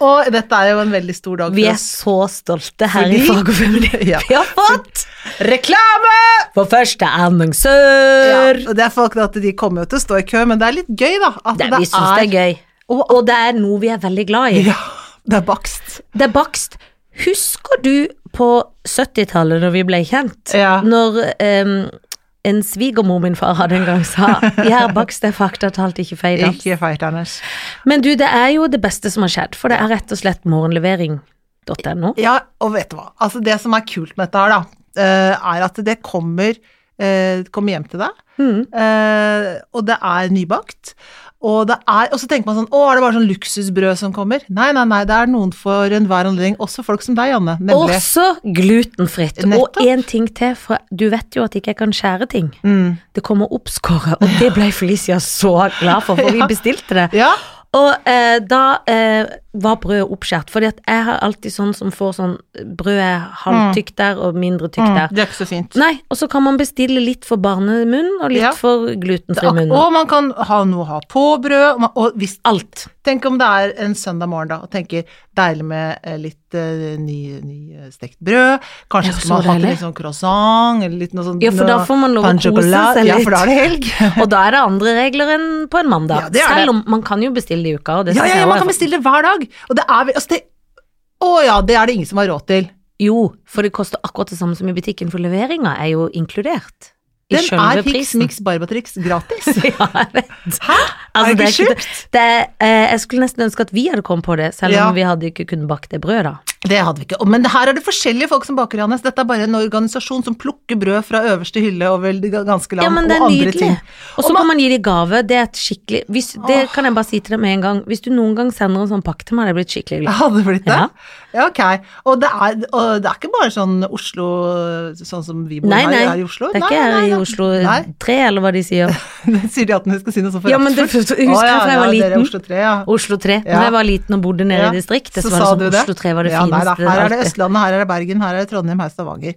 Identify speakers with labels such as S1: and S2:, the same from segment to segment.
S1: og dette er jo en veldig stor dag
S2: Vi
S1: for
S2: er
S1: oss.
S2: så stolte her
S1: Fordi-
S2: i Fag og Feminin.
S1: Ja.
S2: Vi har fått
S1: Reklame!
S2: vår første annonsør.
S1: og det er folk da, at de kommer jo til å stå i kø, men det er litt gøy, da. At
S2: Det, vi syns det er gøy. Og, og det er noe vi er veldig glad i.
S1: Ja, det er bakst.
S2: Det er bakst. Husker du på 70-tallet, når vi ble kjent,
S1: Ja.
S2: når em, en svigermor min far hadde en gang sa Gjær bakst er faktatalt ikke feil. da».
S1: Ikke feil, Anders.
S2: Men du, det er jo det beste som har skjedd, for det er rett og slett morgenlevering.no.
S1: Ja, og vet du hva. Altså, det som er kult med dette her, da, eh, er at det kommer, eh, kommer hjem til deg,
S2: Mm.
S1: eh, og det er nybakt. Og, det er, og så tenker man sånn Å, er det bare sånn luksusbrød som kommer? Nei, nei, nei. Det er noen for enhver anledning. Også folk som deg, Janne. Nemlig.
S2: Også glutenfritt.
S1: Nettopp.
S2: Og en ting til, for du vet jo at ikke jeg kan skjære ting.
S1: Mm.
S2: Det kommer oppskåret, og det ble Felicia så glad for, for vi bestilte det.
S1: Ja.
S2: Og eh, da eh, var brødet oppskjært, fordi at jeg har alltid sånn som får sånn brød er halvtykt
S1: Mm.
S2: der og mindre tykt der.
S1: Det er ikke så fint.
S2: Nei, og så kan man bestille litt for barnemunn og litt
S1: Ja.
S2: for
S1: Det er
S2: glutenfri
S1: ak-
S2: munn.
S1: og man kan ha noe å ha på brød. Og, man, og hvis,
S2: Alt.
S1: tenk om det er en søndag morgen, da, og tenker deilig med eh, litt eh, ny, ny eh, stekt brød. Kanskje
S2: Ja,
S1: skal man
S2: så
S1: ha til
S2: deilig.
S1: litt sånn croissant, eller litt noe sånt.
S2: Ja, for da får man lov å
S1: pan
S2: kose
S1: chocolat.
S2: seg
S1: Ja,
S2: litt.
S1: for da er det helg.
S2: Og da er det andre regler enn på en mandag.
S1: Ja, det er det.
S2: Selv om man kan jo bestille det i uka. Og det
S1: Ja,
S2: synes
S1: ja,
S2: jeg
S1: ja,
S2: også
S1: man
S2: er
S1: kan bestille det hver dag. Og det er vel altså det, Å ja, det er det ingen som har råd til.
S2: Jo, for det koster akkurat det samme som i butikken, for leveringa er jo inkludert. I
S1: Den er
S2: selve
S1: Hix
S2: prisen.
S1: Mix Barbatrix gratis.
S2: ja, jeg vet.
S1: Hæ?
S2: Altså,
S1: er det ikke
S2: ikke
S1: sjukt?
S2: det- det er, eh, jeg skulle nesten ønske at vi hadde kommet på det, selv om
S1: Ja.
S2: vi hadde ikke kunnet bake det brødet, da.
S1: Det hadde vi ikke. Men her er det forskjellige folk som baker, Johannes. Dette er bare en organisasjon som plukker brød fra øverste hylle over det ganske land,
S2: Ja, men det er
S1: og andre
S2: nydelig.
S1: ting.
S2: Og så kan man gi de gave. Det er et skikkelig hvis, Det kan jeg bare si til deg med en gang. Hvis du noen gang sender en sånn pakke til meg, hadde jeg blitt skikkelig glad.
S1: Hadde det blitt det?
S2: Ja.
S1: Ja, ok. Og det, er, og det er ikke bare sånn Oslo Sånn som vi bor
S2: Nei,
S1: her,
S2: nei.
S1: her i Oslo?
S2: Det er
S1: Nei,
S2: ikke
S1: nei,
S2: her i
S1: nei.
S2: Oslo
S1: Nei,
S2: 3, eller hva de sier.
S1: Sier de at de skal si noe sånt for
S2: Ja, men det husker jeg fra jeg var
S1: Ja, dere er
S2: liten.
S1: Oslo 3, ja.
S2: Oslo 3.
S1: Ja.
S2: Når jeg var liten og bodde nede
S1: Ja,
S2: i distriktet, så, var
S1: sa
S2: det
S1: du
S2: sånn Oslo 3 var det
S1: Ja, nei da,
S2: fineste.
S1: Her er det
S2: alltid.
S1: Østlandet, her er det Bergen, her er det Trondheim, her er Stavanger.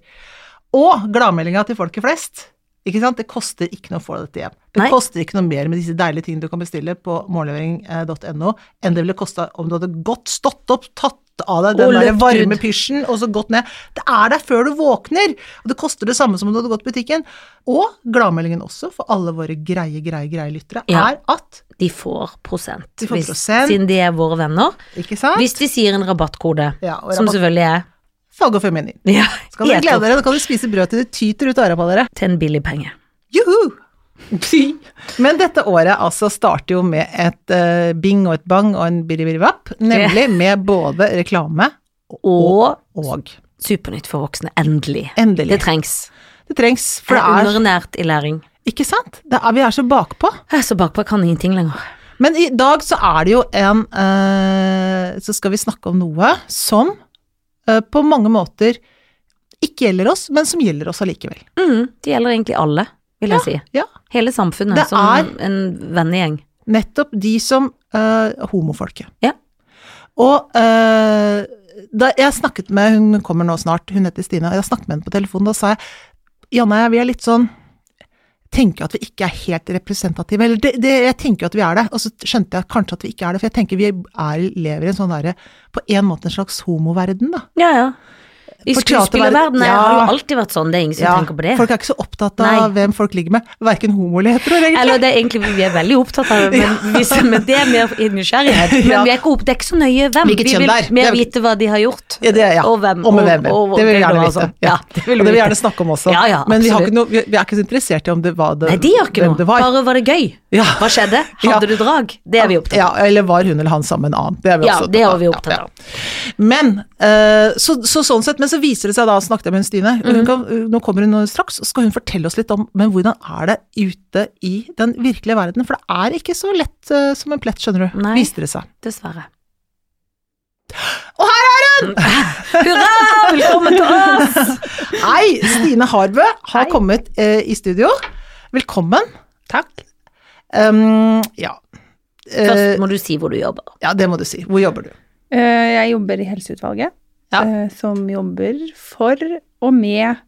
S1: Og gladmeldinga til folket flest. Ikke sant? Det koster ikke noe å få dette hjem. Det
S2: Nei.
S1: koster ikke noe mer med disse deilige tingene du kan bestille på morgenlevering.no, enn det ville kosta om du hadde godt stått opp, tatt av deg den
S2: Og
S1: der
S2: løpt
S1: varme
S2: ut.
S1: pysjen og så gått ned. Det er der før du våkner, og det koster det samme som om du hadde gått i butikken. Og gladmeldingen også, for alle våre greie, greie, greie lyttere,
S2: Ja.
S1: er at
S2: De får prosent,
S1: De får
S2: hvis,
S1: prosent.
S2: siden de er våre venner.
S1: Ikke sant?
S2: Hvis de sier en rabattkode,
S1: Ja, og
S2: som
S1: rabatt-
S2: selvfølgelig er
S1: Fag og feminin.
S2: ja,
S1: Så kan dere
S2: helt
S1: glede
S2: opp
S1: dere, da kan dere spise brød til det tyter ut av øra på dere.
S2: til en billig penge.
S1: Juhu! Men dette året altså starter jo med et eh, bing og et bang og en biribiribap, nemlig med både reklame
S2: Og
S1: og
S2: Supernytt for voksne, endelig. Det
S1: Endelig.
S2: trengs.
S1: Det trengs, for
S2: Jeg er
S1: det er
S2: underernært i læring.
S1: Ikke sant? Det er, vi er så bakpå.
S2: Jeg er så bakpå, jeg kan ingenting lenger.
S1: Men i dag så er det jo en eh, Så skal vi snakke om noe som eh, på mange måter ikke gjelder oss, men som gjelder oss allikevel.
S2: Mm, det gjelder egentlig alle, vil jeg si.
S1: Ja.
S2: Hele samfunnet
S1: Det
S2: som
S1: er-
S2: en vennegjeng.
S1: Nettopp de som eh, Homofolket.
S2: Ja.
S1: Og eh, da jeg snakket med Hun kommer nå snart, hun heter Stine, og jeg snakket med henne på telefonen. Da sa jeg Janne, vi er litt sånn Tenker at vi ikke er helt representative. Eller det, det, jeg tenker jo at vi er det, og så skjønte jeg kanskje at vi ikke er det. For jeg tenker vi er, lever i en sånn derre På en måte en slags homoverden, da.
S2: Ja, ja. I
S1: For teaterverden-
S2: skuespillerverdenen har det
S1: Ja.
S2: jo alltid vært sånn, det er ingen som
S1: Ja,
S2: tenker på det.
S1: Folk er ikke så opptatt av
S2: Nei.
S1: hvem folk ligger med. Verken homo eller hetero, egentlig.
S2: Eller det er egentlig, vi er veldig opptatt av det, men, hvis, men det er mer i nysgjerrighet. Men
S1: Ja.
S2: vi er ikke opp, det er ikke så nøye hvem.
S1: Hvilket
S2: vi
S1: kjønn
S2: vil
S1: det er. Det
S2: mer
S1: er-
S2: vite hva de har gjort.
S1: Ja, det, er- ja.
S2: Og hvem,
S1: Og med
S2: og-
S1: hvem.
S2: og- og-
S1: det vil vi gjerne
S2: og-
S1: vite.
S2: sånn. Ja, det vil
S1: og
S2: vi
S1: det vil vi
S2: vite.
S1: gjerne snakke om også.
S2: Ja, ja,
S1: Men vi, har
S2: absolutt.
S1: ikke noe, vi vi er ikke så interessert i om det, hva det,
S2: Nei, de gjør ikke
S1: hvem
S2: noe.
S1: det var.
S2: Bare var det gøy.
S1: Ja.
S2: Hva skjedde?
S1: Ja.
S2: Hadde du drag? Det er vi opptatt av.
S1: Ja, eller var hun eller han sammen med en annen. Det er vi
S2: Ja,
S1: også
S2: det er vi opptatt
S1: Ja,
S2: av.
S1: ja. Men, eh, så, så sånn sett, men så viser det seg da, snakket jeg med hun Stine,
S2: Mhm.
S1: hun kan, nå kommer hun straks, og skal hun fortelle oss litt om men hvordan er det ute i den virkelige verden. For det er ikke så lett eh, som en plett, skjønner du.
S2: Nei.
S1: Viste det seg.
S2: Dessverre.
S1: Og her er
S2: Hurra, velkommen til oss!
S1: Hei, Stine Harbø har
S2: Hei.
S1: kommet eh, i studio. Velkommen. Takk. Um, ja. Eh,
S2: Først må du si hvor du jobber.
S1: ja, det må du si. Hvor jobber du?
S3: Eh, Jeg jobber i helseutvalget,
S1: Ja.
S3: eh, som jobber for og med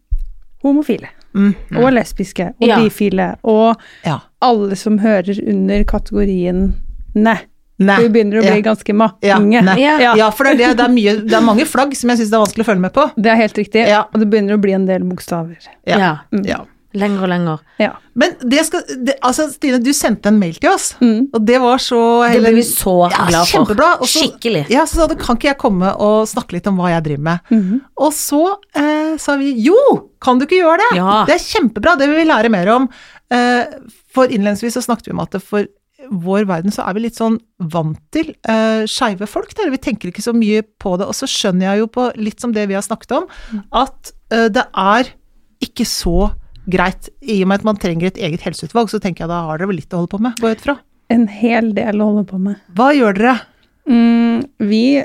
S3: homofile.
S1: Mhm.
S3: Og lesbiske og
S2: Ja.
S3: bifile og
S1: Ja.
S3: alle som hører under kategoriene
S1: Nei.
S3: Vi begynner å bli
S1: ja.
S3: ganske mange.
S1: ja, nei.
S2: Ja.
S1: Ja. for det er, det, det, er mye, det er mange flagg som jeg syns det er vanskelig å følge med på.
S3: Det er helt riktig.
S1: Ja.
S3: Og det begynner å bli en del bokstaver.
S1: Ja.
S2: Ja.
S1: Ja.
S2: Lenger og lenger.
S3: Ja.
S1: Men det skal det, Altså, Stine, du sendte en mail til oss,
S3: Mm.
S1: og det var så
S2: Det blir vi så glad for.
S1: Kjempebra. og så-
S2: Skikkelig.
S1: Ja, så sa du, kan ikke jeg komme og snakke litt om hva jeg driver med?
S3: Mhm.
S1: Og så eh, sa vi jo, kan du ikke gjøre det?
S2: Ja.
S1: Det er kjempebra, det vil vi lære mer om. Eh, for innledningsvis så snakket vi om at det for vår verden så er vi litt sånn vant til eh, skeive folk, der vi tenker ikke så mye på det. Og så skjønner jeg jo på litt som det vi har snakket om, at eh, det er ikke så greit. I og med at man trenger et eget helseutvalg, så tenker jeg da har dere vel litt å holde på med, går jeg ut fra.
S3: En hel del å holde på med.
S1: Hva gjør dere?
S3: Mm, vi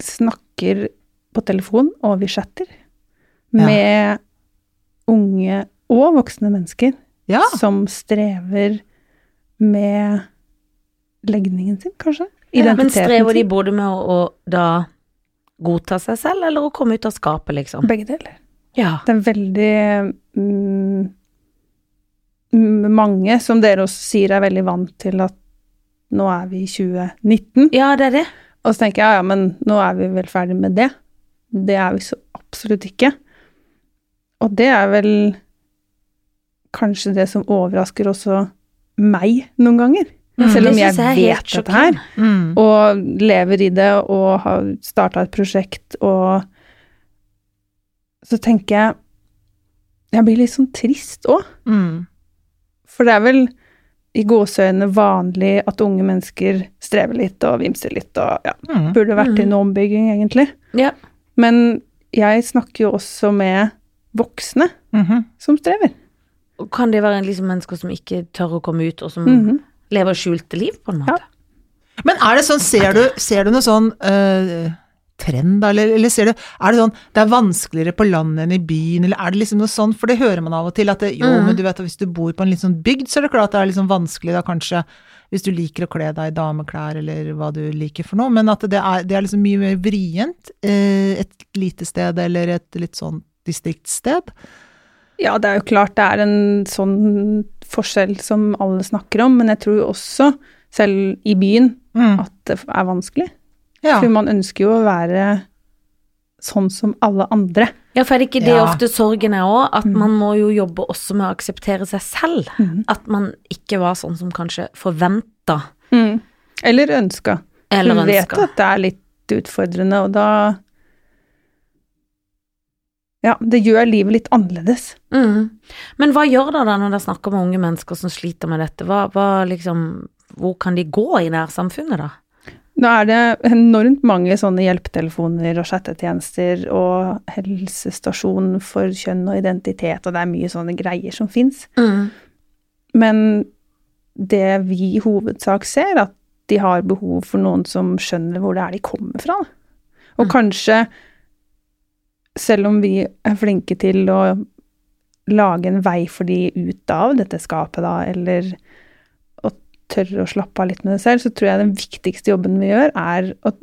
S3: snakker på telefon, og vi chatter
S1: Ja.
S3: med unge og voksne mennesker
S1: Ja.
S3: som strever med legningen sin, kanskje?
S2: Men strever de
S3: sin.
S2: både med å, å da godta seg selv, eller å komme ut av skapet, liksom?
S3: Begge deler.
S2: Ja.
S3: Det er veldig mm, m- mange, som dere også sier, er veldig vant til at nå er vi i 2019.
S2: Ja, det er det.
S3: Og så tenker jeg, ja, ja, men nå er vi vel ferdig med det. Det er vi så absolutt ikke. Og det er vel kanskje det som overrasker også meg noen ganger.
S1: Mm.
S3: Selv om
S2: Det
S3: jeg
S2: synes jeg er helt
S3: vet dette her,
S2: sjokkerende.
S1: Mm.
S3: og lever i det, og har starta et prosjekt, og så tenker jeg Jeg blir litt sånn trist òg.
S1: Mm.
S3: For det er vel i gåseøyne vanlig at unge mennesker strever litt og vimser litt og ja,
S1: Mm.
S3: burde vært i
S2: Mhm.
S3: en ombygging, egentlig.
S2: Ja.
S3: Men jeg snakker jo også med voksne
S1: Mhm.
S3: som strever.
S2: Og Kan det være liksom mennesker som ikke tør å komme ut, og som
S3: Mhm.
S2: lever skjulte liv, på en måte?
S3: Ja.
S1: Men er det sånn, ser du, ser du noe sånn eh, trend, da, eller, eller ser du Er det sånn det er vanskeligere på landet enn i byen, eller er det liksom noe sånn For det hører man av og til at det, jo,
S2: Mm.
S1: men du vet at hvis du bor på en litt sånn bygd, så er det klart det er liksom vanskelig da kanskje hvis du liker å kle deg i dameklær eller hva du liker for noe, men at det er, det er liksom mye mer vrient eh, et lite sted eller et litt sånn distriktssted.
S3: Ja, det er jo klart det er en sånn forskjell som alle snakker om, men jeg tror jo også, selv i byen,
S1: Mm.
S3: at det er vanskelig.
S1: Ja.
S3: For man ønsker jo å være sånn som alle andre.
S2: Ja, for er det ikke det
S1: Ja.
S2: ofte sorgen er òg? At man må jo jobbe også med å akseptere seg selv.
S3: Mhm.
S2: At man ikke var sånn som kanskje forventa
S3: Mm. Eller ønska.
S2: eller
S3: Hun vet
S2: ønska.
S3: at det er litt utfordrende, og da Ja, det gjør livet litt annerledes.
S2: Mm. Men hva gjør dere da når dere snakker med unge mennesker som sliter med dette? Hva, hva liksom Hvor kan de gå i nærsamfunnet, da?
S3: Da er det enormt mange sånne hjelpetelefoner og chattetjenester og helsestasjon for kjønn og identitet, og det er mye sånne greier som fins. Men det vi i hovedsak ser, at de har behov for noen som skjønner hvor det er de kommer fra. Og kanskje, selv om vi er flinke til å lage en vei for de ut av dette skapet, da, eller å tørre å slappe av litt med det selv, så tror jeg den viktigste jobben vi gjør, er å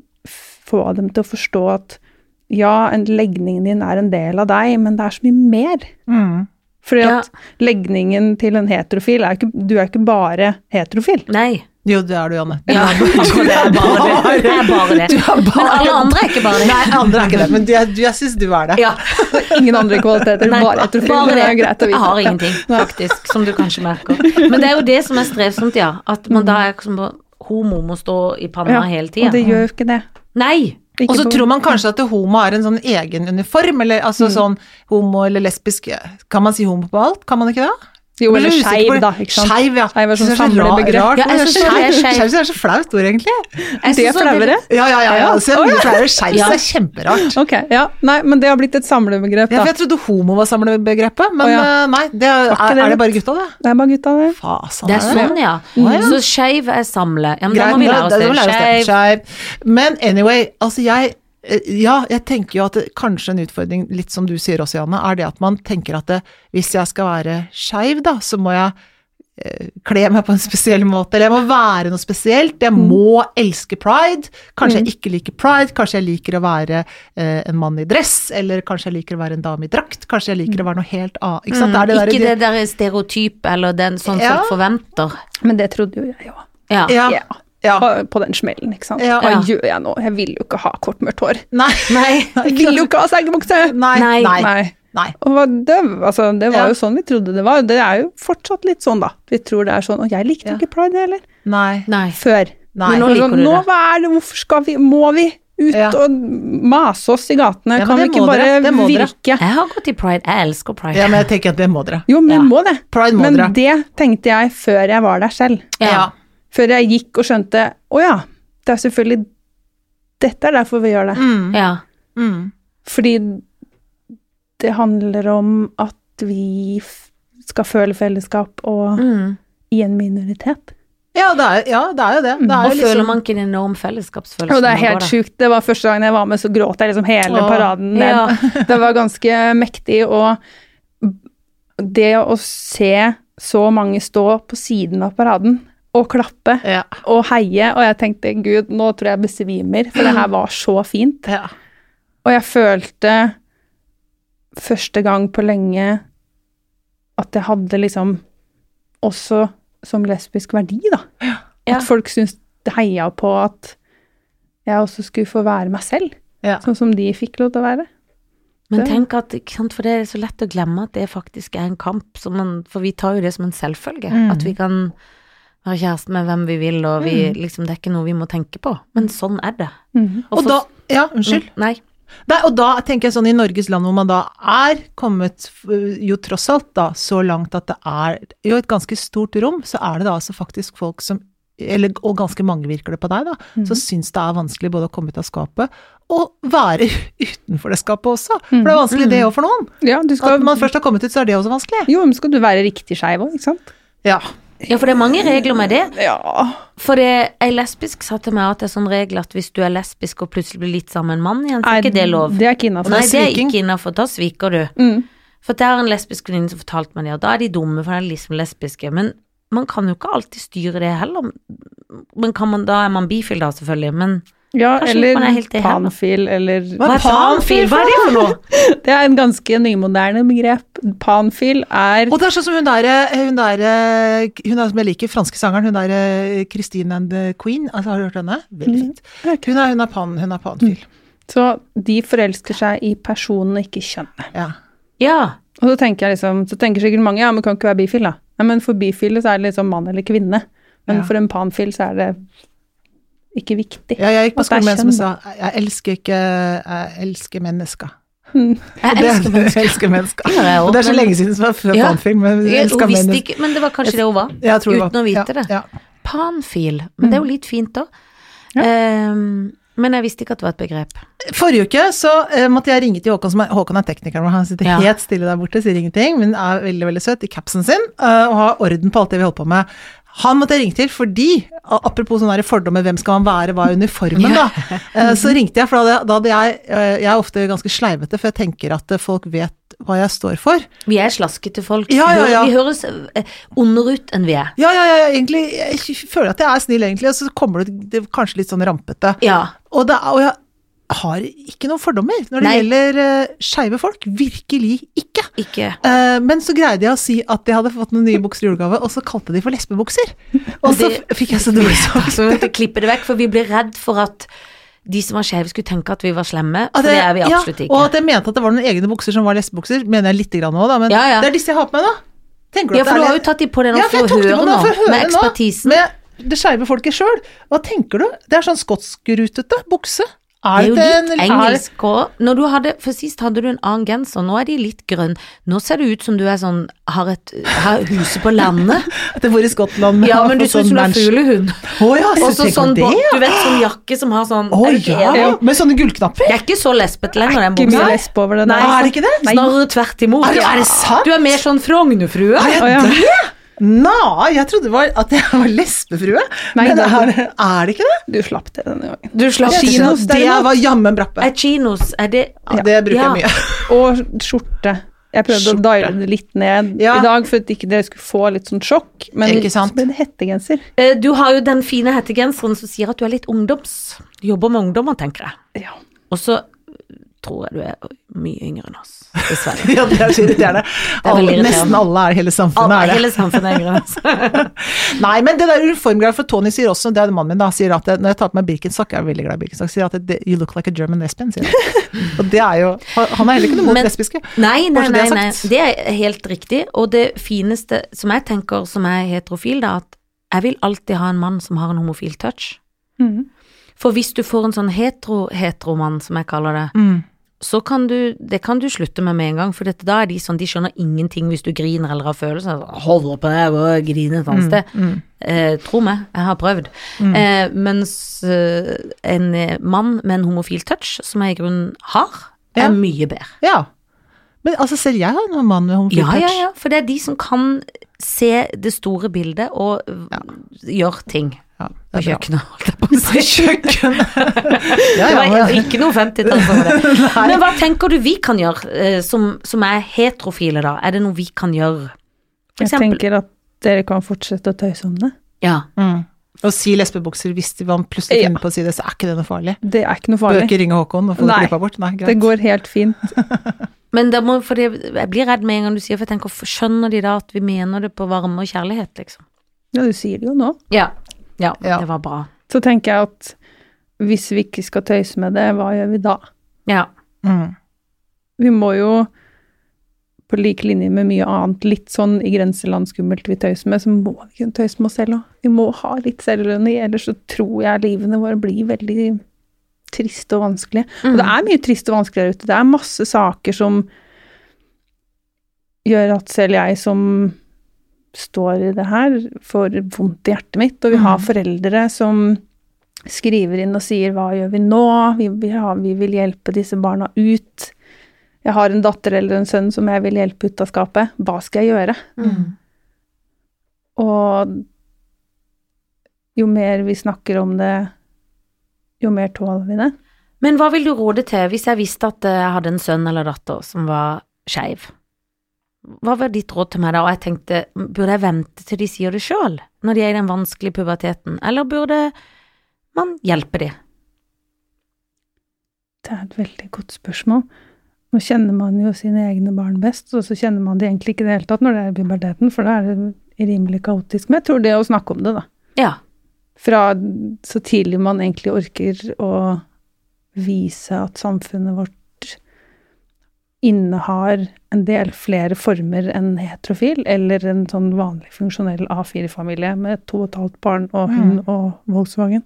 S3: få dem til å forstå at ja, en- legningen din er en del av deg, men det er så mye mer.
S1: Mm.
S3: Fordi
S2: Ja.
S3: at legningen til en heterofil er jo ikke, Du er jo ikke bare heterofil.
S2: Nei.
S1: Jo, det er du, Janne.
S2: Ja, akkurat det er bare det. Det er bare det.
S1: Du er bare
S2: Men alle andre er ikke bare det.
S1: Nei, andre er ikke det, men du- jeg, jeg syns du er det.
S2: Ja.
S3: Ingen andre kvaliteter,
S2: Nei,
S3: bare heterofil.
S2: bare
S3: det
S2: det.
S3: er jo greit å vite.
S2: Jeg har ingenting, faktisk, som du kanskje merker. Men det er jo det som er strevsomt, ja. At
S1: Mm.
S2: man da er som homo må stå i panna
S3: Ja,
S2: hele
S3: Og det
S2: tida.
S3: gjør jo ikke det.
S2: Nei!
S3: Ikke
S1: Og så
S3: på-
S1: tror man kanskje at homo er en sånn egen uniform, eller
S3: Mm.
S1: altså sånn homo eller lesbisk Kan man si homo på alt, kan man ikke det?
S3: Jo,
S1: Jeg
S3: eller
S1: blir usikker på
S3: skeiv,
S1: det.
S3: da. Ikke sant?
S1: Skeiv, ja.
S3: Skeiv er
S1: Jeg
S3: sånn
S1: synes det
S3: samlebegrep.
S1: ra- rart
S2: Ja, jeg
S1: ord.
S2: synes det er skeiv.
S1: Skeiv synes jeg er så flaut ord, egentlig.
S2: Jeg
S3: Det er
S2: synes også
S3: flauere.
S1: Ja, ja, ja. ja. Så jeg er mye flauere. Skeiv
S2: Ja.
S1: synes jeg er kjemperart.
S3: Ok, ja. Nei, men det har blitt et samlebegrep,
S1: Ja, for
S3: da.
S1: jeg trodde homo var samlebegrepet, men
S3: Å, ja.
S1: eh, nei, det er,
S3: Var ikke
S1: er,
S3: det
S1: det bare gutta, det?
S3: Det er bare gutta, det.
S1: Fasan,
S2: Det
S1: det?
S2: er sånn, ja.
S1: Å, ja. Mm.
S2: Så skeiv er samle. Ja, men da
S1: Greit,
S2: må vi
S1: nå-
S2: lære
S1: da må vi
S2: oss
S1: lære
S2: det.
S1: oss det.
S2: Skeiv.
S1: Skeiv. Men anyway, altså jeg eh, ja, jeg tenker jo at det, kanskje en utfordring, litt som du sier også, Janne, er det at man tenker at det, hvis jeg skal være skeiv, da, så må jeg eh, kle meg på en spesiell måte, eller jeg må være noe spesielt, jeg
S2: Mm.
S1: må elske pride, kanskje jeg ikke liker pride, kanskje jeg liker å være eh, en mann i dress, eller kanskje jeg liker å være en dame i drakt, kanskje jeg liker å være noe helt annet, ikke sant? Det er det der-
S2: Mm. Ikke det der stereotyp eller den sånn
S1: Ja.
S2: folk forventer.
S3: Men det trodde jo jeg òg.
S2: Ja.
S1: Ja.
S3: Ja.
S1: Ja.
S3: på- på den smellen, ikke sant.
S1: Ja.
S3: Hva
S2: Ja.
S3: gjør jeg nå? Jeg vil jo ikke ha kort, mørkt hår.
S1: Nei.
S2: Nei.
S1: Nei.
S3: Jeg vil jo ikke ha selgebukse!
S1: Nei.
S2: Nei.
S1: Nei. Nei.
S3: Nei. Og hva- det, altså, det var
S1: Ja.
S3: jo sånn vi trodde det var. Det er jo fortsatt litt sånn, da. Vi tror det er sånn. Og jeg likte
S1: Ja.
S3: ikke pride heller.
S1: Nei.
S2: Nei.
S3: Før.
S1: Nei.
S2: Men
S3: Nå,
S2: Nå liker
S3: sånn,
S2: du
S3: nå
S2: det.
S3: hva er det, hvorfor skal vi, må vi ut
S1: Ja.
S3: og mase oss i gatene?
S1: Ja, men
S3: kan vi
S1: det
S3: ikke
S1: må
S3: bare
S1: dere, det må dere.
S3: virke?
S2: Jeg har gått i pride. Jeg elsker pride.
S1: Ja, men jeg tenker at det må dere.
S3: Jo, men
S2: Ja.
S3: vi må det.
S1: Pride må
S3: men
S1: dere.
S3: det tenkte jeg før jeg var der selv.
S1: Ja.
S3: Før jeg gikk og skjønte, å ja, det er selvfølgelig dette er derfor vi gjør det.
S1: Mm.
S2: ja.
S1: Mm.
S3: Fordi det handler om at vi f- skal føle fellesskap og
S2: Mm.
S3: i en minoritet.
S1: Ja, det er, ja, det er jo det. det er
S2: Og
S1: jo
S2: føler
S1: liksom,
S2: man ikke en enorm fellesskapsfølelse?
S3: Og det
S2: når
S3: er
S2: man går
S3: helt
S2: der?
S3: sjukt. Det var første gangen jeg var med, så gråt jeg liksom hele
S1: Åh,
S3: paraden ned.
S2: Ja.
S3: Det var ganske mektig, og det å se så mange stå på siden av paraden og klappe
S1: ja,
S3: og heie, og jeg tenkte gud, nå tror jeg jeg besvimer, for det her var så fint.
S1: ja.
S3: Og jeg følte første gang på lenge at jeg hadde liksom også som lesbisk verdi, da.
S2: Ja.
S3: At folk syntes det heia på at jeg også skulle få være meg selv,
S1: Ja.
S3: sånn som de fikk lov til å være.
S2: Men
S3: Det-
S2: tenk at, ikke sant, for det er så lett å glemme at det faktisk er en kamp, som man, for vi tar jo det som en selvfølge.
S1: Mm.
S2: At vi kan være kjæreste med hvem vi vil, og vi, liksom, det er ikke noe vi må tenke på. Men sånn er det. mm,
S1: Og da Ja, unnskyld.
S2: Nei.
S1: Nei, og da tenker jeg sånn i Norges land hvor man da er kommet f- jo tross alt da så langt at det er jo et ganske stort rom, så er det da altså faktisk folk som eller, og ganske mange virker det på deg, da, som syns det er vanskelig både å komme ut av skapet og være utenfor det skapet også. For det er vanskelig det òg for noen.
S3: Ja, du
S1: At
S3: skal,
S1: man først har kommet ut, så er det også vanskelig.
S3: jo, men skal du være riktig skeiv òg, ikke sant?
S1: Ja.
S2: Ja, for det er mange regler med det.
S3: Ja.
S2: For det, ei lesbisk sa til meg at det er sånn regel at hvis du er lesbisk og plutselig blir litt sammen med en mann igjen, så er ikke det lov.
S3: Det er ikke innafor.
S2: Nei, det er
S1: sviking.
S2: ikke innafor. Da sviker du.
S3: Mm.
S2: For det er en lesbisk venninne som fortalte meg det, og da er de dumme, for de er liksom lesbiske. Men man kan jo ikke alltid styre det heller. Men kan man, da er man bifil, da, selvfølgelig. Men
S3: Ja,
S2: Kanskje man er
S3: eller
S2: helt i hælen.
S3: panfil, eller
S1: Hva er panfil? Hva er det for noe?
S3: Det er en ganske nymoderne begrep. Panfil er
S1: Og det er sånn som hun der, hun der, eh, hun der som jeg liker, franske sangeren, hun der eh, Christine and the Queen, altså har du hørt henne?
S2: Mm,
S1: Veldig fint. Hun er, hun er, pan, hun er panfil.
S3: Så de forelsker seg i personen, ikke kjønnet.
S1: Ja.
S2: ja.
S3: Og så tenker jeg liksom, så tenker sikkert mange ja, men kan ikke være bifil, da. Nei, men for bifile så er det liksom mann eller kvinne. Men
S1: Ja.
S3: for en panfil så er det ikke viktig.
S1: Ja, jeg gikk på
S3: At det er
S1: skolen med en som
S3: kjønn,
S1: sa jeg elsker ikke Jeg elsker mennesker.
S2: Jeg
S1: Det-
S2: elsker mennesker.
S1: jeg elsker mennesker.
S2: gjør jeg også,
S1: Og det er så
S2: men-
S1: lenge siden som jeg har født
S2: Ja.
S1: panfilm, men jeg
S2: Hun
S1: elsker
S2: visste
S1: mennesker.
S2: ikke, men det var kanskje det hun var.
S1: Jeg tror det
S2: uten
S1: var-
S2: å vite
S1: ja,
S2: det.
S1: Ja.
S2: Panfil. Men det er jo litt fint, da. Ehm, men jeg visste ikke at det var et begrep.
S1: Forrige uke så eh, måtte jeg ringe til Håkon, som er, Håkon er teknikeren vår, han sitter
S2: Ja.
S1: helt stille der borte, sier ingenting, men er veldig, veldig søt i capsen sin, eh, og har orden på alt det vi holder på med. Han måtte jeg ringe til fordi, a- apropos sånne der fordommer, hvem skal man være, hva er uniformen da? Eh, Så ringte jeg, for da hadde, da hadde jeg, eh, jeg er ofte ganske sleivete, for jeg tenker at eh, folk vet hva jeg står for.
S2: Vi er slaskete folk.
S1: Ja, ja, ja.
S2: Vi høres eh, ondere ut enn vi er.
S1: Ja, ja, ja, egentlig, jeg føler at jeg er snill, egentlig, og så kommer det, det er kanskje litt sånn rampete.
S2: Ja.
S1: Og, det, er- og jeg har ikke noen fordommer når det
S2: Nei.
S1: gjelder uh, skeive folk. Virkelig ikke.
S2: Ikke
S1: Eh, men så greide jeg å si at jeg hadde fått noen nye bukser i julegave, og så kalte de for lesbebukser. Og så
S2: Det-
S1: f- fikk jeg så dårlig
S2: Så vi
S1: samvittighet.
S2: måtte klippe det vekk, for vi ble redd for at de som var skeive skulle tenke at vi var slemme, for
S1: At jeg-
S2: det er vi absolutt
S1: Ja, og
S2: ikke.
S1: at jeg mente at det var noen egne bukser som var lesbebukser, mener jeg lite grann òg, da. Men
S2: Ja, ja.
S1: det er disse jeg har på meg nå. Tenker
S2: Ja,
S1: at
S2: for
S1: det
S2: du
S1: er
S2: har
S1: litt-
S2: jo tatt de på deg nå
S1: Ja, for
S2: for
S1: jeg
S2: å
S1: tok det
S2: høre
S1: på
S2: nå,
S1: meg for å høre
S2: med
S1: nå.
S2: ekspertisen.
S1: Med det skeive folket sjøl. Hva tenker du? Det er sånn skotskrutete bukse.
S2: Det er jo
S1: det
S2: litt
S1: en-
S2: engelsk òg. Når du hadde, for sist hadde du en annen genser, nå er de litt grønn. Nå ser det ut som du er sånn, har, et, har huset på landet.
S1: Er, det bor i Skottland. men
S2: Ja,
S1: har
S2: men du
S1: fått
S2: ser ut
S1: sånn
S2: som du er
S1: mansion.
S2: fuglehund.
S1: Å ja, så
S2: Og så
S1: tenker
S2: sånn,
S1: du
S2: bak-
S1: det.
S2: du vet, sånn jakke som har sånn
S1: Å
S2: er du ikke
S1: ja,
S2: enig?
S1: med sånne gullknapper.
S2: Det er ikke så lesbete lenger, den
S3: Ikke mye
S2: buksa.
S3: lesbe over det
S2: Nei,
S3: der. Ah,
S1: Er det ikke det?
S2: Snarere tvert imot.
S1: Er det- er det sant?
S2: Du er mer sånn Frognerfrue.
S1: Er jeg
S3: Å, ja.
S1: det? Nei, jeg trodde det var at jeg var lesbefrue.
S3: Nei,
S1: Men
S3: det er
S1: er, det- er det ikke det?
S3: Du slapp det denne gangen.
S2: Du slapp
S1: Kinos, det
S3: derimot.
S1: var jammen brappe.
S2: Er chinos Er det
S1: Ja, det bruker
S2: Ja.
S1: jeg mye.
S3: Og skjorte. Jeg prøvde
S1: Skjorte.
S3: å diale det litt ned
S1: Ja.
S3: i dag for at ikke dere skulle få litt sånn sjokk. Men
S1: Ikke sant?
S3: så ble det hettegenser.
S2: Eh, Du har jo den fine hettegenseren som sier at du er litt ungdoms. Du jobber med ungdommer, tenker jeg.
S3: Ja.
S2: Og så eh, tror jeg du er mye yngre enn oss, dessverre.
S1: Ja, det er så irriterende.
S2: er veldig
S1: Alle,
S2: irriterende.
S1: nesten alle er hele samfunnet
S2: Alle,
S1: Sånn er det.
S2: hele samfunnet er yngre enn oss.
S1: Nei, men det der uniformgreiet for Tony sier også, det er mannen min da, sier at det, når jeg tar på meg Birkenstock, jeg er veldig glad i Birkenstock, sier at det, you look like a German lesbian, sier han. Og det er jo, han er heller ikke noe mot
S2: Men-
S1: lesbiske.
S2: Nei, nei,
S1: Bare så det
S2: nei,
S1: er
S2: nei.
S1: sagt.
S2: Det er helt riktig. Og det fineste som jeg tenker som er heterofil, det er at jeg vil alltid ha en mann som har en homofil touch.
S1: Mm.
S3: Mhm.
S2: For hvis du får en sånn hetero-heteromann, som jeg kaller det,
S1: Mm.
S2: så kan du, det kan du slutte med med en gang, for dette, da er de sånn, de skjønner ingenting hvis du griner eller har følelser. Sånn, Hold opp med det, og grine et annet sted.
S1: Mm.
S2: Eh, tro meg, jeg har prøvd. Eh, mens eh, en eh, mann med en homofil touch, som jeg i grunnen har,
S1: Ja.
S2: er mye bedre.
S1: Ja. Men altså, selv jeg har en mann med homofil
S2: Ja,
S1: touch.
S2: ja, ja, for det er de som kan se det store bildet og øh, gjøre ting
S1: Ja,
S2: på
S1: det er bra.
S2: kjøkkenet, holdt jeg på å si.
S1: Ja,
S2: Det
S1: ja,
S2: var
S1: men,
S2: ikke noe 50-tall for det. Men hva tenker du vi kan gjøre, eh, som, som er heterofile, da? Er det noe vi kan gjøre? For
S3: Jeg
S2: eksempel
S3: tenker at dere kan fortsette å tøyse om det.
S2: Ja.
S1: mm. Å si lesbebukser hvis de- man plutselig
S3: Ja.
S1: finner på å si det, så er ikke det noe farlig.
S3: Det er ikke noe
S1: Bør
S3: farlig.
S1: ikke ringe Håkon og få
S3: Nei.
S1: klippa bort. Nei, greit.
S3: Det går helt fint.
S2: Men da må, for det, jeg blir redd med en gang du sier for jeg tenker, for skjønner de da at vi mener det på varme og kjærlighet, liksom?
S3: Ja, du sier det jo nå.
S2: Ja. Ja,
S1: Ja.
S2: det var bra.
S3: Så tenker jeg at hvis vi ikke skal tøyse med det, hva gjør vi da?
S2: Ja.
S1: Mm.
S3: Vi må jo på lik linje med mye annet, litt sånn i grenseland skummelt vi tøyser med, så må vi kunne tøyse med oss selv òg. Vi må ha litt selvironi, ellers så tror jeg livene våre blir veldig triste og vanskelige.
S2: Mm.
S3: Og det er mye trist og vanskelig der ute. Det er masse saker som gjør at selv jeg som står i det her, får vondt i hjertet mitt. Og vi har
S1: Mm.
S3: foreldre som skriver inn og sier 'hva gjør vi nå', vi vil, ha, vi vil hjelpe disse barna ut. Jeg har en datter eller en sønn som jeg vil hjelpe ut av skapet. Hva skal jeg gjøre?
S2: Mm.
S3: Og jo mer vi snakker om det, jo mer tåler vi det.
S2: Men hva vil du råde til hvis jeg visste at eh, jeg hadde en sønn eller datter som var skeiv? Hva var ditt råd til meg da? Og jeg tenkte, burde jeg vente til de sier det sjøl, når de er i den vanskelige puberteten, eller burde man hjelpe de?
S3: Det er et veldig godt spørsmål. Nå kjenner man jo sine egne barn best, og så kjenner man det egentlig ikke i det hele tatt når det er i puberteten, for da er det rimelig kaotisk. Men jeg tror det å snakke om det, da.
S2: Ja.
S3: Fra så tidlig man egentlig orker å vise at samfunnet vårt innehar en del flere former enn heterofil, eller en sånn vanlig funksjonell A4-familie med to og et halvt barn og hund og Volkswagen.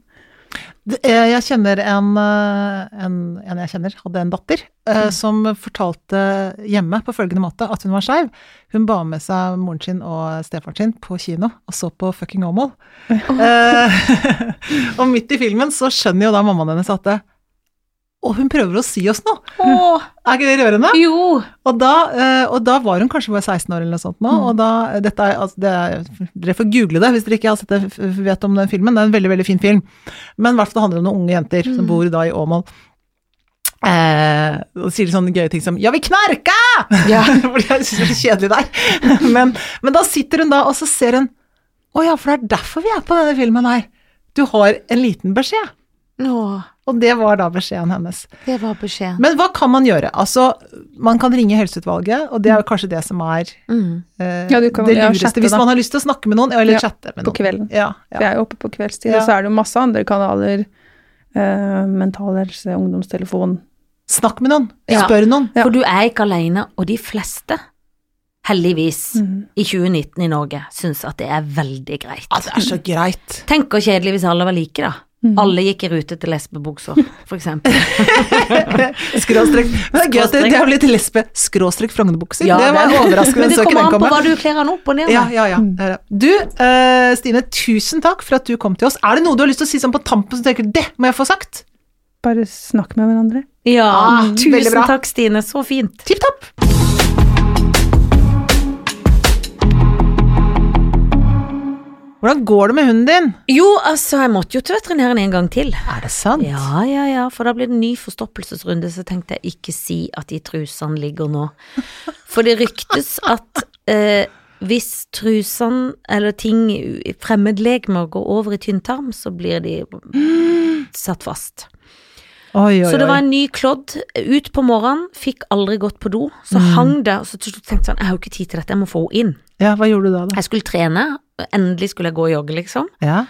S1: Det- eh, Jeg kjenner en, eh, en, en jeg kjenner, hadde en datter, eh,
S3: Mm.
S1: som fortalte hjemme på følgende måte at hun var skeiv. Hun ba med seg moren sin og stefaren sin på kino og så på fucking Åmål. Eh, og midt i filmen så skjønner jo da mammaen hennes at det, og hun prøver å si oss noe!
S2: Å,
S1: Er ikke det rørende?
S2: jo!
S1: Og da, eh, og da var hun kanskje bare 16 år eller noe sånt nå, og da dette er, altså, det er, Dere får google det hvis dere ikke har sett det, f- vet om den filmen. Det er en veldig veldig fin film. Men i hvert fall det handler om noen unge jenter som bor da i Åmål. Eh, og sier sånne gøye ting som 'ja, vi knerka!' For jeg synes det er så kjedelig der. Men, men da sitter hun da, og så ser hun 'Å ja, for det er derfor vi er på denne filmen her'. Du har en liten beskjed.
S2: Nå,
S1: Og det var da beskjeden hennes.
S2: det var beskjeden.
S1: Men hva kan man gjøre? Altså, man kan ringe helseutvalget, og det er jo kanskje det som er
S2: Mm.
S1: eh,
S3: Ja, du kan-
S1: det
S3: ja,
S1: lureste.
S3: chatte,
S1: Hvis
S3: da.
S1: man har lyst til å snakke med noen, eller
S3: Ja,
S1: chatte med
S3: på
S1: noen.
S3: kvelden.
S1: Ja, ja.
S3: For jeg er jo oppe på kveldstid,
S1: Ja.
S3: og så er det jo masse andre kanaler. eh, mental helse, ungdomstelefon.
S1: Snakk med noen,
S2: Ja.
S1: spør noen.
S3: Ja.
S2: For du er ikke alene, og de fleste, heldigvis,
S1: Mm.
S2: i 2019 i Norge, syns at det er veldig greit.
S1: Ja, Ah, det er så Mm. greit.
S2: Tenk hvor kjedelig hvis alle var like, da.
S3: Mm.
S2: Alle gikk i rute til lesbebukser, for eksempel.
S1: Skråstrek. Men det er gøy at det,
S2: Skråstrek.
S1: det er jo litt lesbe. Skråstrek Frognerbukser.
S2: Ja,
S1: det var
S2: det-
S1: overraskende.
S2: Men det
S1: så ikke
S2: kommer
S1: den
S2: an på
S1: komme.
S2: hva du kler han opp og ned med.
S1: Ja, ja, ja. det er det. Du, eh, Stine, tusen takk for at du kom til oss. Er det noe du har lyst til å si sånn på tampen som du tenker 'det må jeg få sagt'?
S3: Bare snakk med hverandre.
S2: Ja,
S1: Ah, veldig
S2: tusen
S1: bra.
S2: takk, Stine. Så fint.
S1: Tipp topp! Hvordan går det med hunden din?
S2: Jo, altså, jeg måtte jo til veterinæren en gang til.
S1: Er det sant?
S2: Ja, ja, ja, for da blir det ny forstoppelsesrunde, så tenkte jeg ikke si at de trusene ligger nå. For det ryktes at eh, hvis trusene eller ting, i fremmedlegemer, går over i tynntarm, så blir de satt fast.
S1: Oi, oi,
S2: Så det var
S1: oi.
S2: en ny klodd ut på morgenen, fikk aldri gått på do. Så hang det, og så til slutt tenkte jeg sånn, jeg har jo ikke tid til dette, jeg må få henne inn.
S1: Ja, hva gjorde du da, da?
S2: Jeg skulle trene, endelig skulle jeg gå og jogge, liksom.
S1: Ja.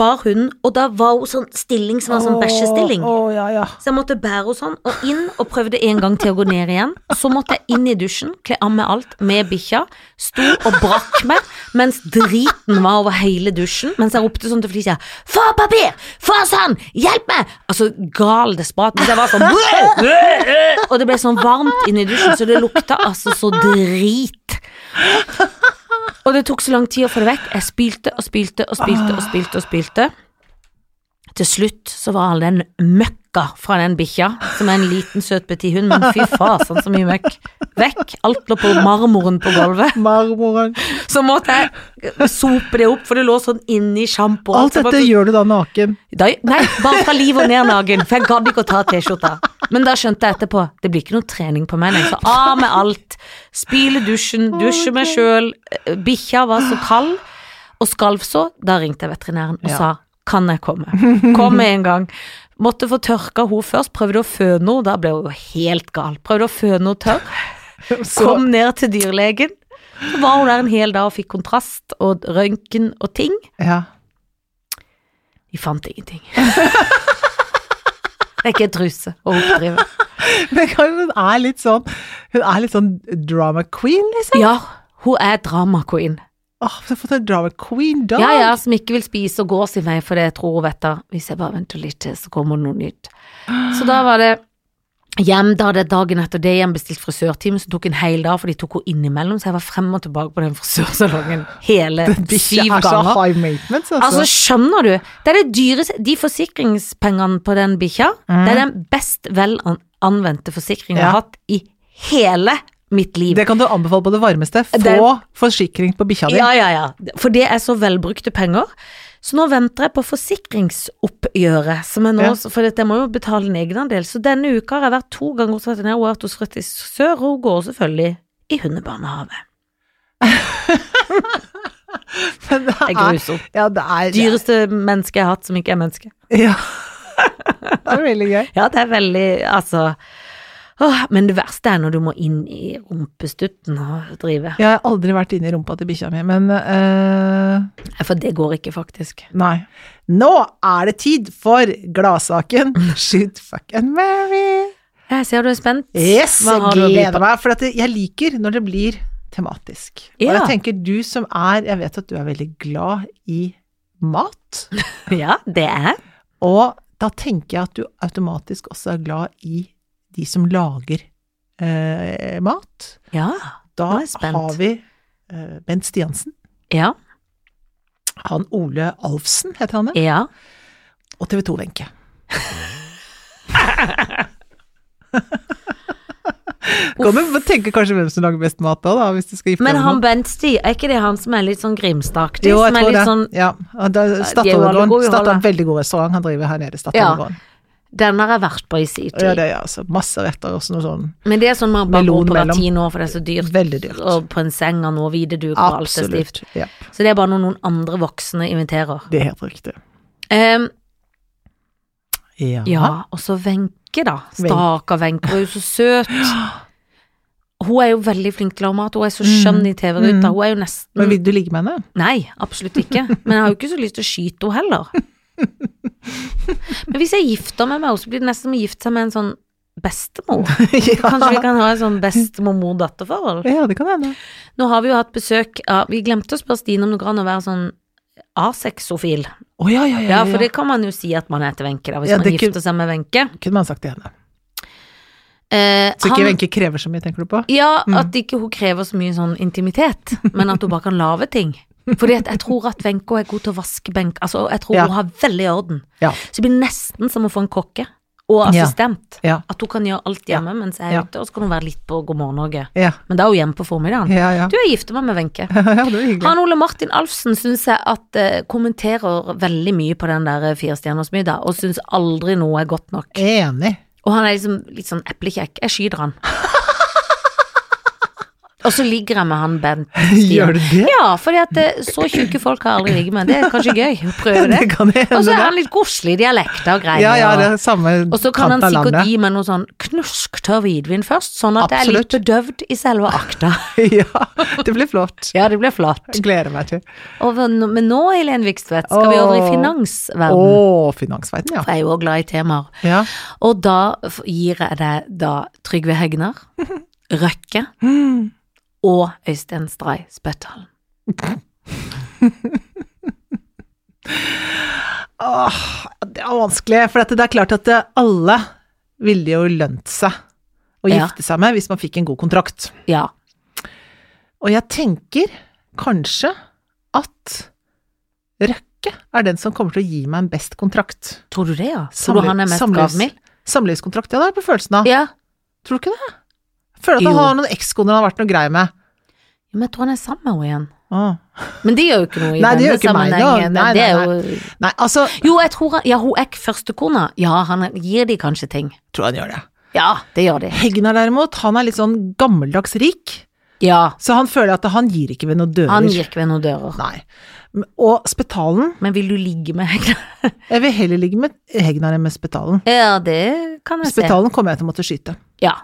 S2: Bar hun, og da var hun sånn stilling som var sånn bæsjestilling.
S1: Å, å, ja, ja.
S2: Så jeg måtte bære henne sånn, og inn, og prøvde en gang til å gå ned igjen. Så måtte jeg inn i dusjen, kle av meg alt, med bikkja. Sto og brakk meg, mens driten var over hele dusjen. Mens jeg ropte sånn til Felicia, få papir, få sand, hjelp meg! Altså gal desperat. Mens jeg var sånn, «Bæ, bæ, bæ!» og det ble sånn varmt inne i dusjen, så det lukta altså så drit. Og det tok så lang tid å få det vekk. Jeg spylte og spylte og spylte og spylte og spylte. Til slutt så var all den møkka fra den bikkja, som er en liten, søt petit hund, men fy fasen så mye møkk, vekk. Alt lå på marmoren på gulvet.
S1: Marmoren.
S2: Så måtte jeg sope det opp, for det lå sånn inni sjampo.
S1: Alt dette gjør du da naken.
S2: Da, nei, bare fra liv og ned nagen, for jeg gadd ikke å ta T-skjorta. Men da skjønte jeg etterpå, det blir ikke noe trening på meg, nei. Så av med alt. Spyle dusjen, dusje meg sjøl. Bikkja var så kald og skalv så. Da ringte jeg veterinæren og
S1: Ja.
S2: sa kan jeg komme? Kom med en gang. Måtte få tørka hun først. Prøvde å føde henne, da ble hun jo helt gal. Prøvde å føde henne tørr.
S1: Så
S2: Kom ned til dyrlegen. Så var hun der en hel dag og fikk kontrast og røntgen og ting.
S1: Ja.
S2: De fant ingenting. Det er ikke en truse å oppdrive.
S1: Men hun er litt sånn Hun er litt sånn drama queen, liksom.
S2: Ja, hun er drama queen.
S1: Åh, så fått en drama queen dog.
S2: Ja, ja, som ikke vil spise og går sin vei, for det tror hun vet da. Hvis jeg bare venter litt til, så kommer noe nytt. Så da var det hjem, da hadde jeg dagen etter det igjen bestilt frisørtime, som tok en hel dag, for de tok henne innimellom, så jeg var frem og tilbake på den frisørsalongen hele
S1: Bikkja
S2: syv
S1: er så
S2: ganger.
S1: high maintenance, altså.
S2: Altså, skjønner du? Det er det dyreste De forsikringspengene på den bikkja, det er den best vel an- anvendte forsikringen jeg
S1: Mm. Ja.
S2: har hatt i hele mitt liv.
S1: det kan du anbefale på det varmeste. Få
S2: Det-
S1: forsikring på bikkja di.
S2: Ja, ja, ja. For det er så velbrukte penger. Så nå venter jeg på forsikringsoppgjøret, som er nå,
S1: Ja.
S2: for dette må jo betale en egenandel. Så denne uka har jeg vært to ganger hos veterinær, og vært hos frisør, og hun går selvfølgelig i hundebarnehage.
S1: Men det
S2: Det er grusomt.
S1: Ja, det er
S2: Dyreste menneske jeg har hatt som ikke er menneske.
S1: Ja. Det er veldig gøy.
S2: Ja, det er veldig, altså åh, Men det verste er når du må inn i rumpestutten og drive.
S1: Jeg har aldri vært inne i rumpa til bikkja mi, men eh,
S2: For det går ikke, faktisk.
S1: Nei. Nå er det tid for gladsaken. Shoot, fuck and marry.
S2: Jeg ser du er spent.
S1: Yes,
S2: Hva har du å
S1: jeg
S2: by
S1: gleder
S2: på?
S1: meg, for at jeg liker når det blir tematisk. Og
S2: Ja.
S1: jeg tenker du som er, jeg vet at du er veldig glad i mat,
S2: Ja, det er jeg.
S1: og da tenker jeg at du automatisk også er glad i de som lager eh, mat.
S2: Ja.
S1: Da
S2: Nå er jeg spent.
S1: har vi eh, Bent Stiansen,
S2: Ja.
S1: han Ole Alfsen heter han det,
S2: ja.
S1: og TV 2 Wenche. Kommer, tenker kanskje hvem som lager best mat da, da hvis du skal gifte
S2: Men
S1: deg med noen.
S2: han Bensti, er ikke det han som er litt sånn Grimstad-aktig?
S1: Jo, jeg
S2: Som er
S1: tror
S2: litt
S1: det.
S2: sånn
S1: ja. Og da-
S2: jo alle gode
S1: Statoilegården. Statoil er
S2: holder.
S1: en veldig god restaurant han driver her nede. Statoilegården.
S2: Den har jeg vært på i sin
S1: Ja. ja,
S2: tid.
S1: det er altså masse retter og noe sånn.
S2: Men det er sånn man bare
S1: Melon
S2: går på hvert
S1: mellom.
S2: tiende år, for det er så dyrt.
S1: Veldig dyrt.
S2: Og på en seng av noe hvite duker og alt er stivt.
S1: Absolutt. Ja,
S2: Så det er bare noe noen andre voksne inviterer.
S1: det er helt riktig.
S2: Um,
S1: Ja.
S2: Ja, og så Wenche, da.
S1: Wenche.
S2: Stakkar Wenche, hun er jo så søt. Hun er jo veldig flink til å lage mat, hun er så skjønn i TV-ruta. Hun er jo
S1: Mm. Men
S2: nesten
S1: vil du ligge med henne?
S2: Nei, absolutt ikke. Men jeg har jo ikke så lyst til å skyte henne heller. Men hvis jeg gifter meg med henne, så blir det nesten som å gifte seg med en sånn bestemor. Kanskje vi
S1: ja.
S2: kan ha et sånn bestemor-mor-datter-forhold?
S1: ja, det kan hende.
S2: Nå har vi jo hatt besøk av Vi glemte å spørre Stine om det går an å være sånn asexofil.
S1: Å ja, ja, ja.
S2: Ja,
S1: ja,
S2: for
S1: ja.
S2: det kan man jo si at man er til Wenche, da, hvis
S1: Ja,
S2: man
S1: det kun-
S2: gifter seg med Wenche.
S1: Kunne man sagt til henne.
S2: Eh,
S1: Så ikke
S2: han-
S1: Wenche krever så mye, tenker du på?
S2: Ja, at ikke hun krever så mye sånn intimitet, men at hun bare kan lage ting. Fordi at jeg tror at Wenche er god til å vaske benk, altså jeg tror
S1: Ja.
S2: hun har veldig orden.
S1: Ja.
S2: Så det blir nesten som å få en kokke og
S1: Ja.
S2: assistent.
S1: Ja.
S2: At hun kan gjøre alt hjemme mens jeg er
S1: Ja.
S2: ute, og så kan hun være litt på God morgen Norge.
S1: Ja,
S2: Men da er hun hjemme på formiddagen.
S1: ja. ja.
S2: Du, jeg gifter meg med Wenche.
S1: ja det var hyggelig.
S2: Han Ole Martin Alfsen syns jeg at eh, kommenterer veldig mye på den der eh, firestjerners middag, og syns aldri noe er godt nok.
S1: Enig.
S2: Og han er liksom litt sånn eplekjekk. Jeg skyter han. Og så ligger jeg med han Bent.
S1: Gjør du det?
S2: Ja, fordi at eh, så tjukke folk har jeg aldri ligget med. Det er kanskje gøy å prøve det.
S1: Det kan hende,
S2: Og så er
S1: det.
S2: han litt godslig i dialekter og greier.
S1: Ja, ja, det
S2: og-
S1: er samme
S2: og så kan han
S1: kant av
S2: sikkert
S1: landet.
S2: gi meg noe sånn knusktørr hvitvin først, sånn at jeg er litt bedøvd i selve akta.
S1: Ja, det blir flott.
S2: Ja, det blir flott.
S1: Jeg gleder meg til.
S2: Og, hva- men nå, Helen Vikstvedt, skal vi over i
S1: Åh. Å,
S2: finansverdenen.
S1: finansverden, ja.
S2: For jeg er jo også glad i temaer.
S1: ja.
S2: Og da f- gir jeg deg da Trygve Hegnar, Røkke og Øystein Stray Spøttalen.
S1: Åh, det er vanskelig, for at det er klart at eh, alle ville jo lønt seg å
S2: Ja.
S1: gifte seg med hvis man fikk en god kontrakt.
S2: Ja.
S1: Og jeg tenker kanskje at Røkke er den som kommer til å gi meg en best kontrakt.
S2: Tror du det, ja? Tror
S1: Samle-
S2: du han er mest
S1: samles-
S2: gavmild?
S1: Samlivskontrakt, ja, det er på følelsen av.
S2: Ja.
S1: Tror du ikke det? Jeg føler at
S2: Jo.
S1: han har noen ekskoner han har vært noe grei med.
S2: Men jeg tror han er sammen med henne igjen.
S1: Åh.
S2: Men det gjør jo ikke noe i
S1: Nei, det gjør
S2: denne
S1: ikke meg, da.
S2: sammenhengen.
S1: Nei,
S2: det
S1: nei,
S2: er jo
S1: Nei, altså,
S2: Jo, jeg tror han, ja, hun er ikke førstekona. Ja, han gir de kanskje ting.
S1: tror han gjør det.
S2: Ja, det gjør de.
S1: Hegnar derimot, han er litt sånn gammeldags rik,
S2: Ja,
S1: så han føler at han gir ikke ved noen dører.
S2: han gikk ved noen dører.
S1: Nei. Men- Og Spetalen,
S2: Men vil du ligge med Hegnar?
S1: jeg vil heller ligge med Hegnar enn med Spetalen.
S2: Ja, det kan jeg se.
S1: Spetalen kommer jeg til å måtte skyte.
S2: Ja.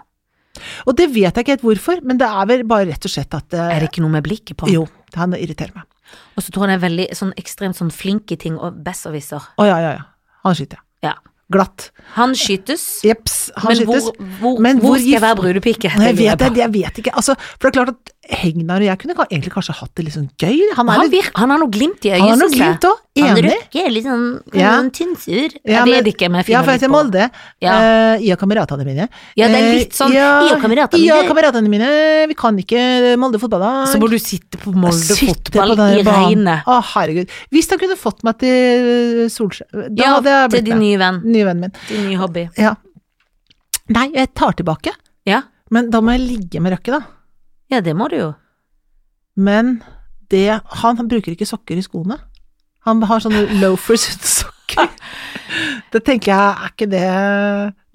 S1: Og det vet jeg ikke helt hvorfor, men det er vel bare rett og slett at eh,
S2: Er det ikke noe med blikket på?
S1: Jo, han irriterer meg.
S2: Og så tror jeg han er veldig sånn ekstremt sånn flink i ting og besserwisser.
S1: Å ja, ja, ja. Han skyter jeg.
S2: Ja.
S1: Glatt.
S2: Han skytes,
S1: Jeps, han
S2: men,
S1: skytes.
S2: hvor, hvor,
S1: Men hvor
S2: hvor skal jeg
S1: gift-
S2: være brudepike?
S1: Nei, jeg
S2: lurer
S1: vet,
S2: på.
S1: det, jeg vet ikke. Altså, for det er klart at Hegnar og jeg kunne ka- egentlig kanskje hatt det litt sånn gøy. Han er
S2: Han,
S1: litt
S2: virker, han har noe glimt i øyet.
S1: Han har noe
S2: synes jeg.
S1: glimt òg.
S2: Han
S1: Enig.
S2: røkker litt sånn ja.
S1: Ja.
S2: tynnsur. Jeg
S1: Ja, men-
S2: vet ikke, men jeg
S1: Ja,
S2: finner
S1: for jeg
S2: litt
S1: til
S2: på.
S1: Molde.
S2: Ja.
S1: Eh, jeg og kameratene mine.
S2: Ja, det er
S1: Eh,
S2: litt sånn, jeg og kameratene
S1: jeg og
S2: mine.
S1: kameratene mine, vi kan ikke Molde fotballag.
S2: Så må du sitte sånn- på
S1: Jeg
S2: Molde
S1: sitter
S2: fotball
S1: på den
S2: i
S1: banen.
S2: regnet.
S1: Å, herregud. Hvis han kunne fått meg til eh, Solskjær, da
S2: Ja,
S1: hadde jeg
S2: til
S1: blitt
S2: din
S1: med.
S2: nye venn.
S1: Nye vennen min.
S2: Din nye hobby.
S1: Ja. Nei, jeg tar tilbake.
S2: Ja,
S1: Men da må jeg ligge med Røkke, da.
S2: ja det må du jo.
S1: Men det Han bruker ikke sokker i skoene. Han har sånne loafers uten sokker. Det tenker jeg, er ikke det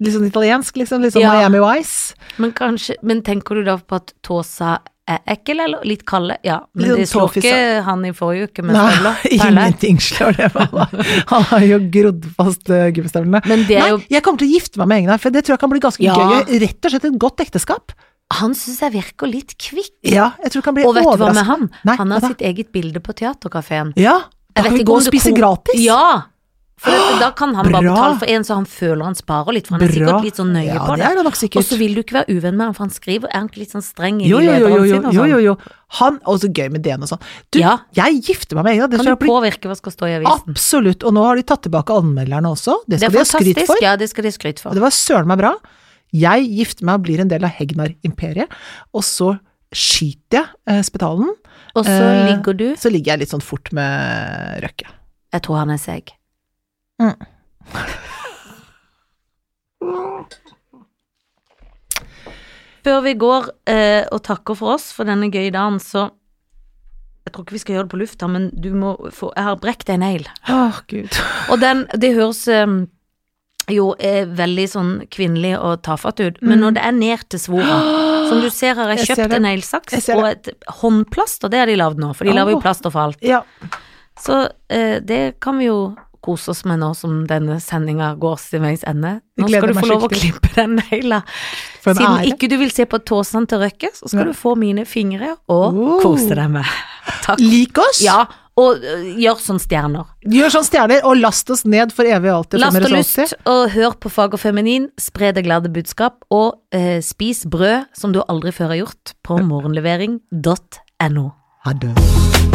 S1: litt sånn italiensk, liksom? Litt sånn
S2: Ja.
S1: Miami Vice?
S2: Men, kanskje, men tenker du da på at tåsa er ekkel, eller litt kalde? Ja, men
S1: Litt
S2: det
S1: sånn
S2: slår ikke han i forrige uke med
S1: Nei,
S2: støvler. perler.
S1: ingenting slår det med meg. Han har jo grodd fast eh, gummistøvlene.
S2: Men det
S1: Nei,
S2: er jo
S1: jeg kommer til å gifte meg med Egnar, for det tror jeg kan bli ganske
S2: Ja.
S1: gøy. Rett og slett et godt ekteskap.
S2: Han syns jeg virker litt kvikk.
S1: Ja, jeg tror det kan bli
S2: Og vet du hva med
S1: overraskende.
S2: han?
S1: Nei,
S2: Han
S1: hva
S2: har
S1: da?
S2: sitt eget bilde på Theatercaféen.
S1: Ja, da kan
S2: Jeg vet
S1: vi
S2: ikke
S1: gå og
S2: om det
S1: spise
S2: ko-
S1: gratis.
S2: Ja! For at, da kan han bare
S1: Bra.
S2: betale for en, så han føler han sparer litt, for han er sikkert litt sånn nøye
S1: ja,
S2: på
S1: det.
S2: det.
S1: er det nok sikkert.
S2: Og så vil du ikke være uvenn med han, for han skriver, er han ikke litt sånn streng i
S1: Jo, jo, jo, jo,
S2: lederen
S1: jo,
S2: sin og
S1: jo,
S2: sånn?
S1: jo, jo. Han, og så gøy med DN og sånn. Du,
S2: Ja.
S1: jeg gifter meg med Egnar, det
S2: Kan
S1: tror
S2: du
S1: jeg blir
S2: påvirke hva skal stå i avisen?
S1: absolutt. Og nå har de tatt tilbake anmelderne også, det
S2: Det
S1: skal
S2: er
S1: de ha skryt
S2: fantastisk,
S1: for.
S2: ja, det skal de ha skryt
S1: Og
S2: for.
S1: det var søren meg bra. Jeg gifter meg og blir en del av Hegnar-imperiet, og så skyter jeg eh, spetalen.
S2: Og så
S1: Eh,
S2: ligger du
S1: Så ligger jeg litt sånn fort med Røkke.
S2: Jeg tror han er seg.
S1: Mm.
S2: Før vi går eh, og takker for oss for denne gøye dagen, så Jeg tror ikke vi skal gjøre det på lufta, men du må få Jeg har brekt en negl.
S1: Åh, gud.
S2: Og den, det høres em, jo eh, veldig sånn kvinnelig og tafatt ut, men
S1: Mm.
S2: når det er ned til svora Som du ser har jeg
S1: Jeg ser
S2: kjøpt
S1: det.
S2: en neglesaks
S1: Jeg ser
S2: og et håndplaster, det har de lagd nå, for de lager jo
S1: Åh.
S2: plaster for alt.
S1: Ja,
S2: Så eh, det kan vi jo kose oss med nå som denne sendinga går til veis ende. Nå
S1: Jeg gleder
S2: skal du
S1: meg
S2: få lov å
S1: skikkelig.
S2: klippe den negla.
S1: for en
S2: Siden
S1: ære.
S2: ikke du vil se på tåsene til Røkke, så skal
S1: Ja.
S2: du få mine fingre og
S1: Oh.
S2: kose deg med. Takk.
S1: Lik oss!
S2: Ja, og eh, gjør som stjerner.
S1: Gjør sånn stjerner, og last oss ned for evig og alltid.
S2: Last
S1: fremmer
S2: og
S1: oss alltid.
S2: lyst, og hør på Fag og Feminin, spre det glade budskap, og eh, spis brød som du aldri før har gjort, på morgenlevering.no.
S1: Ha det.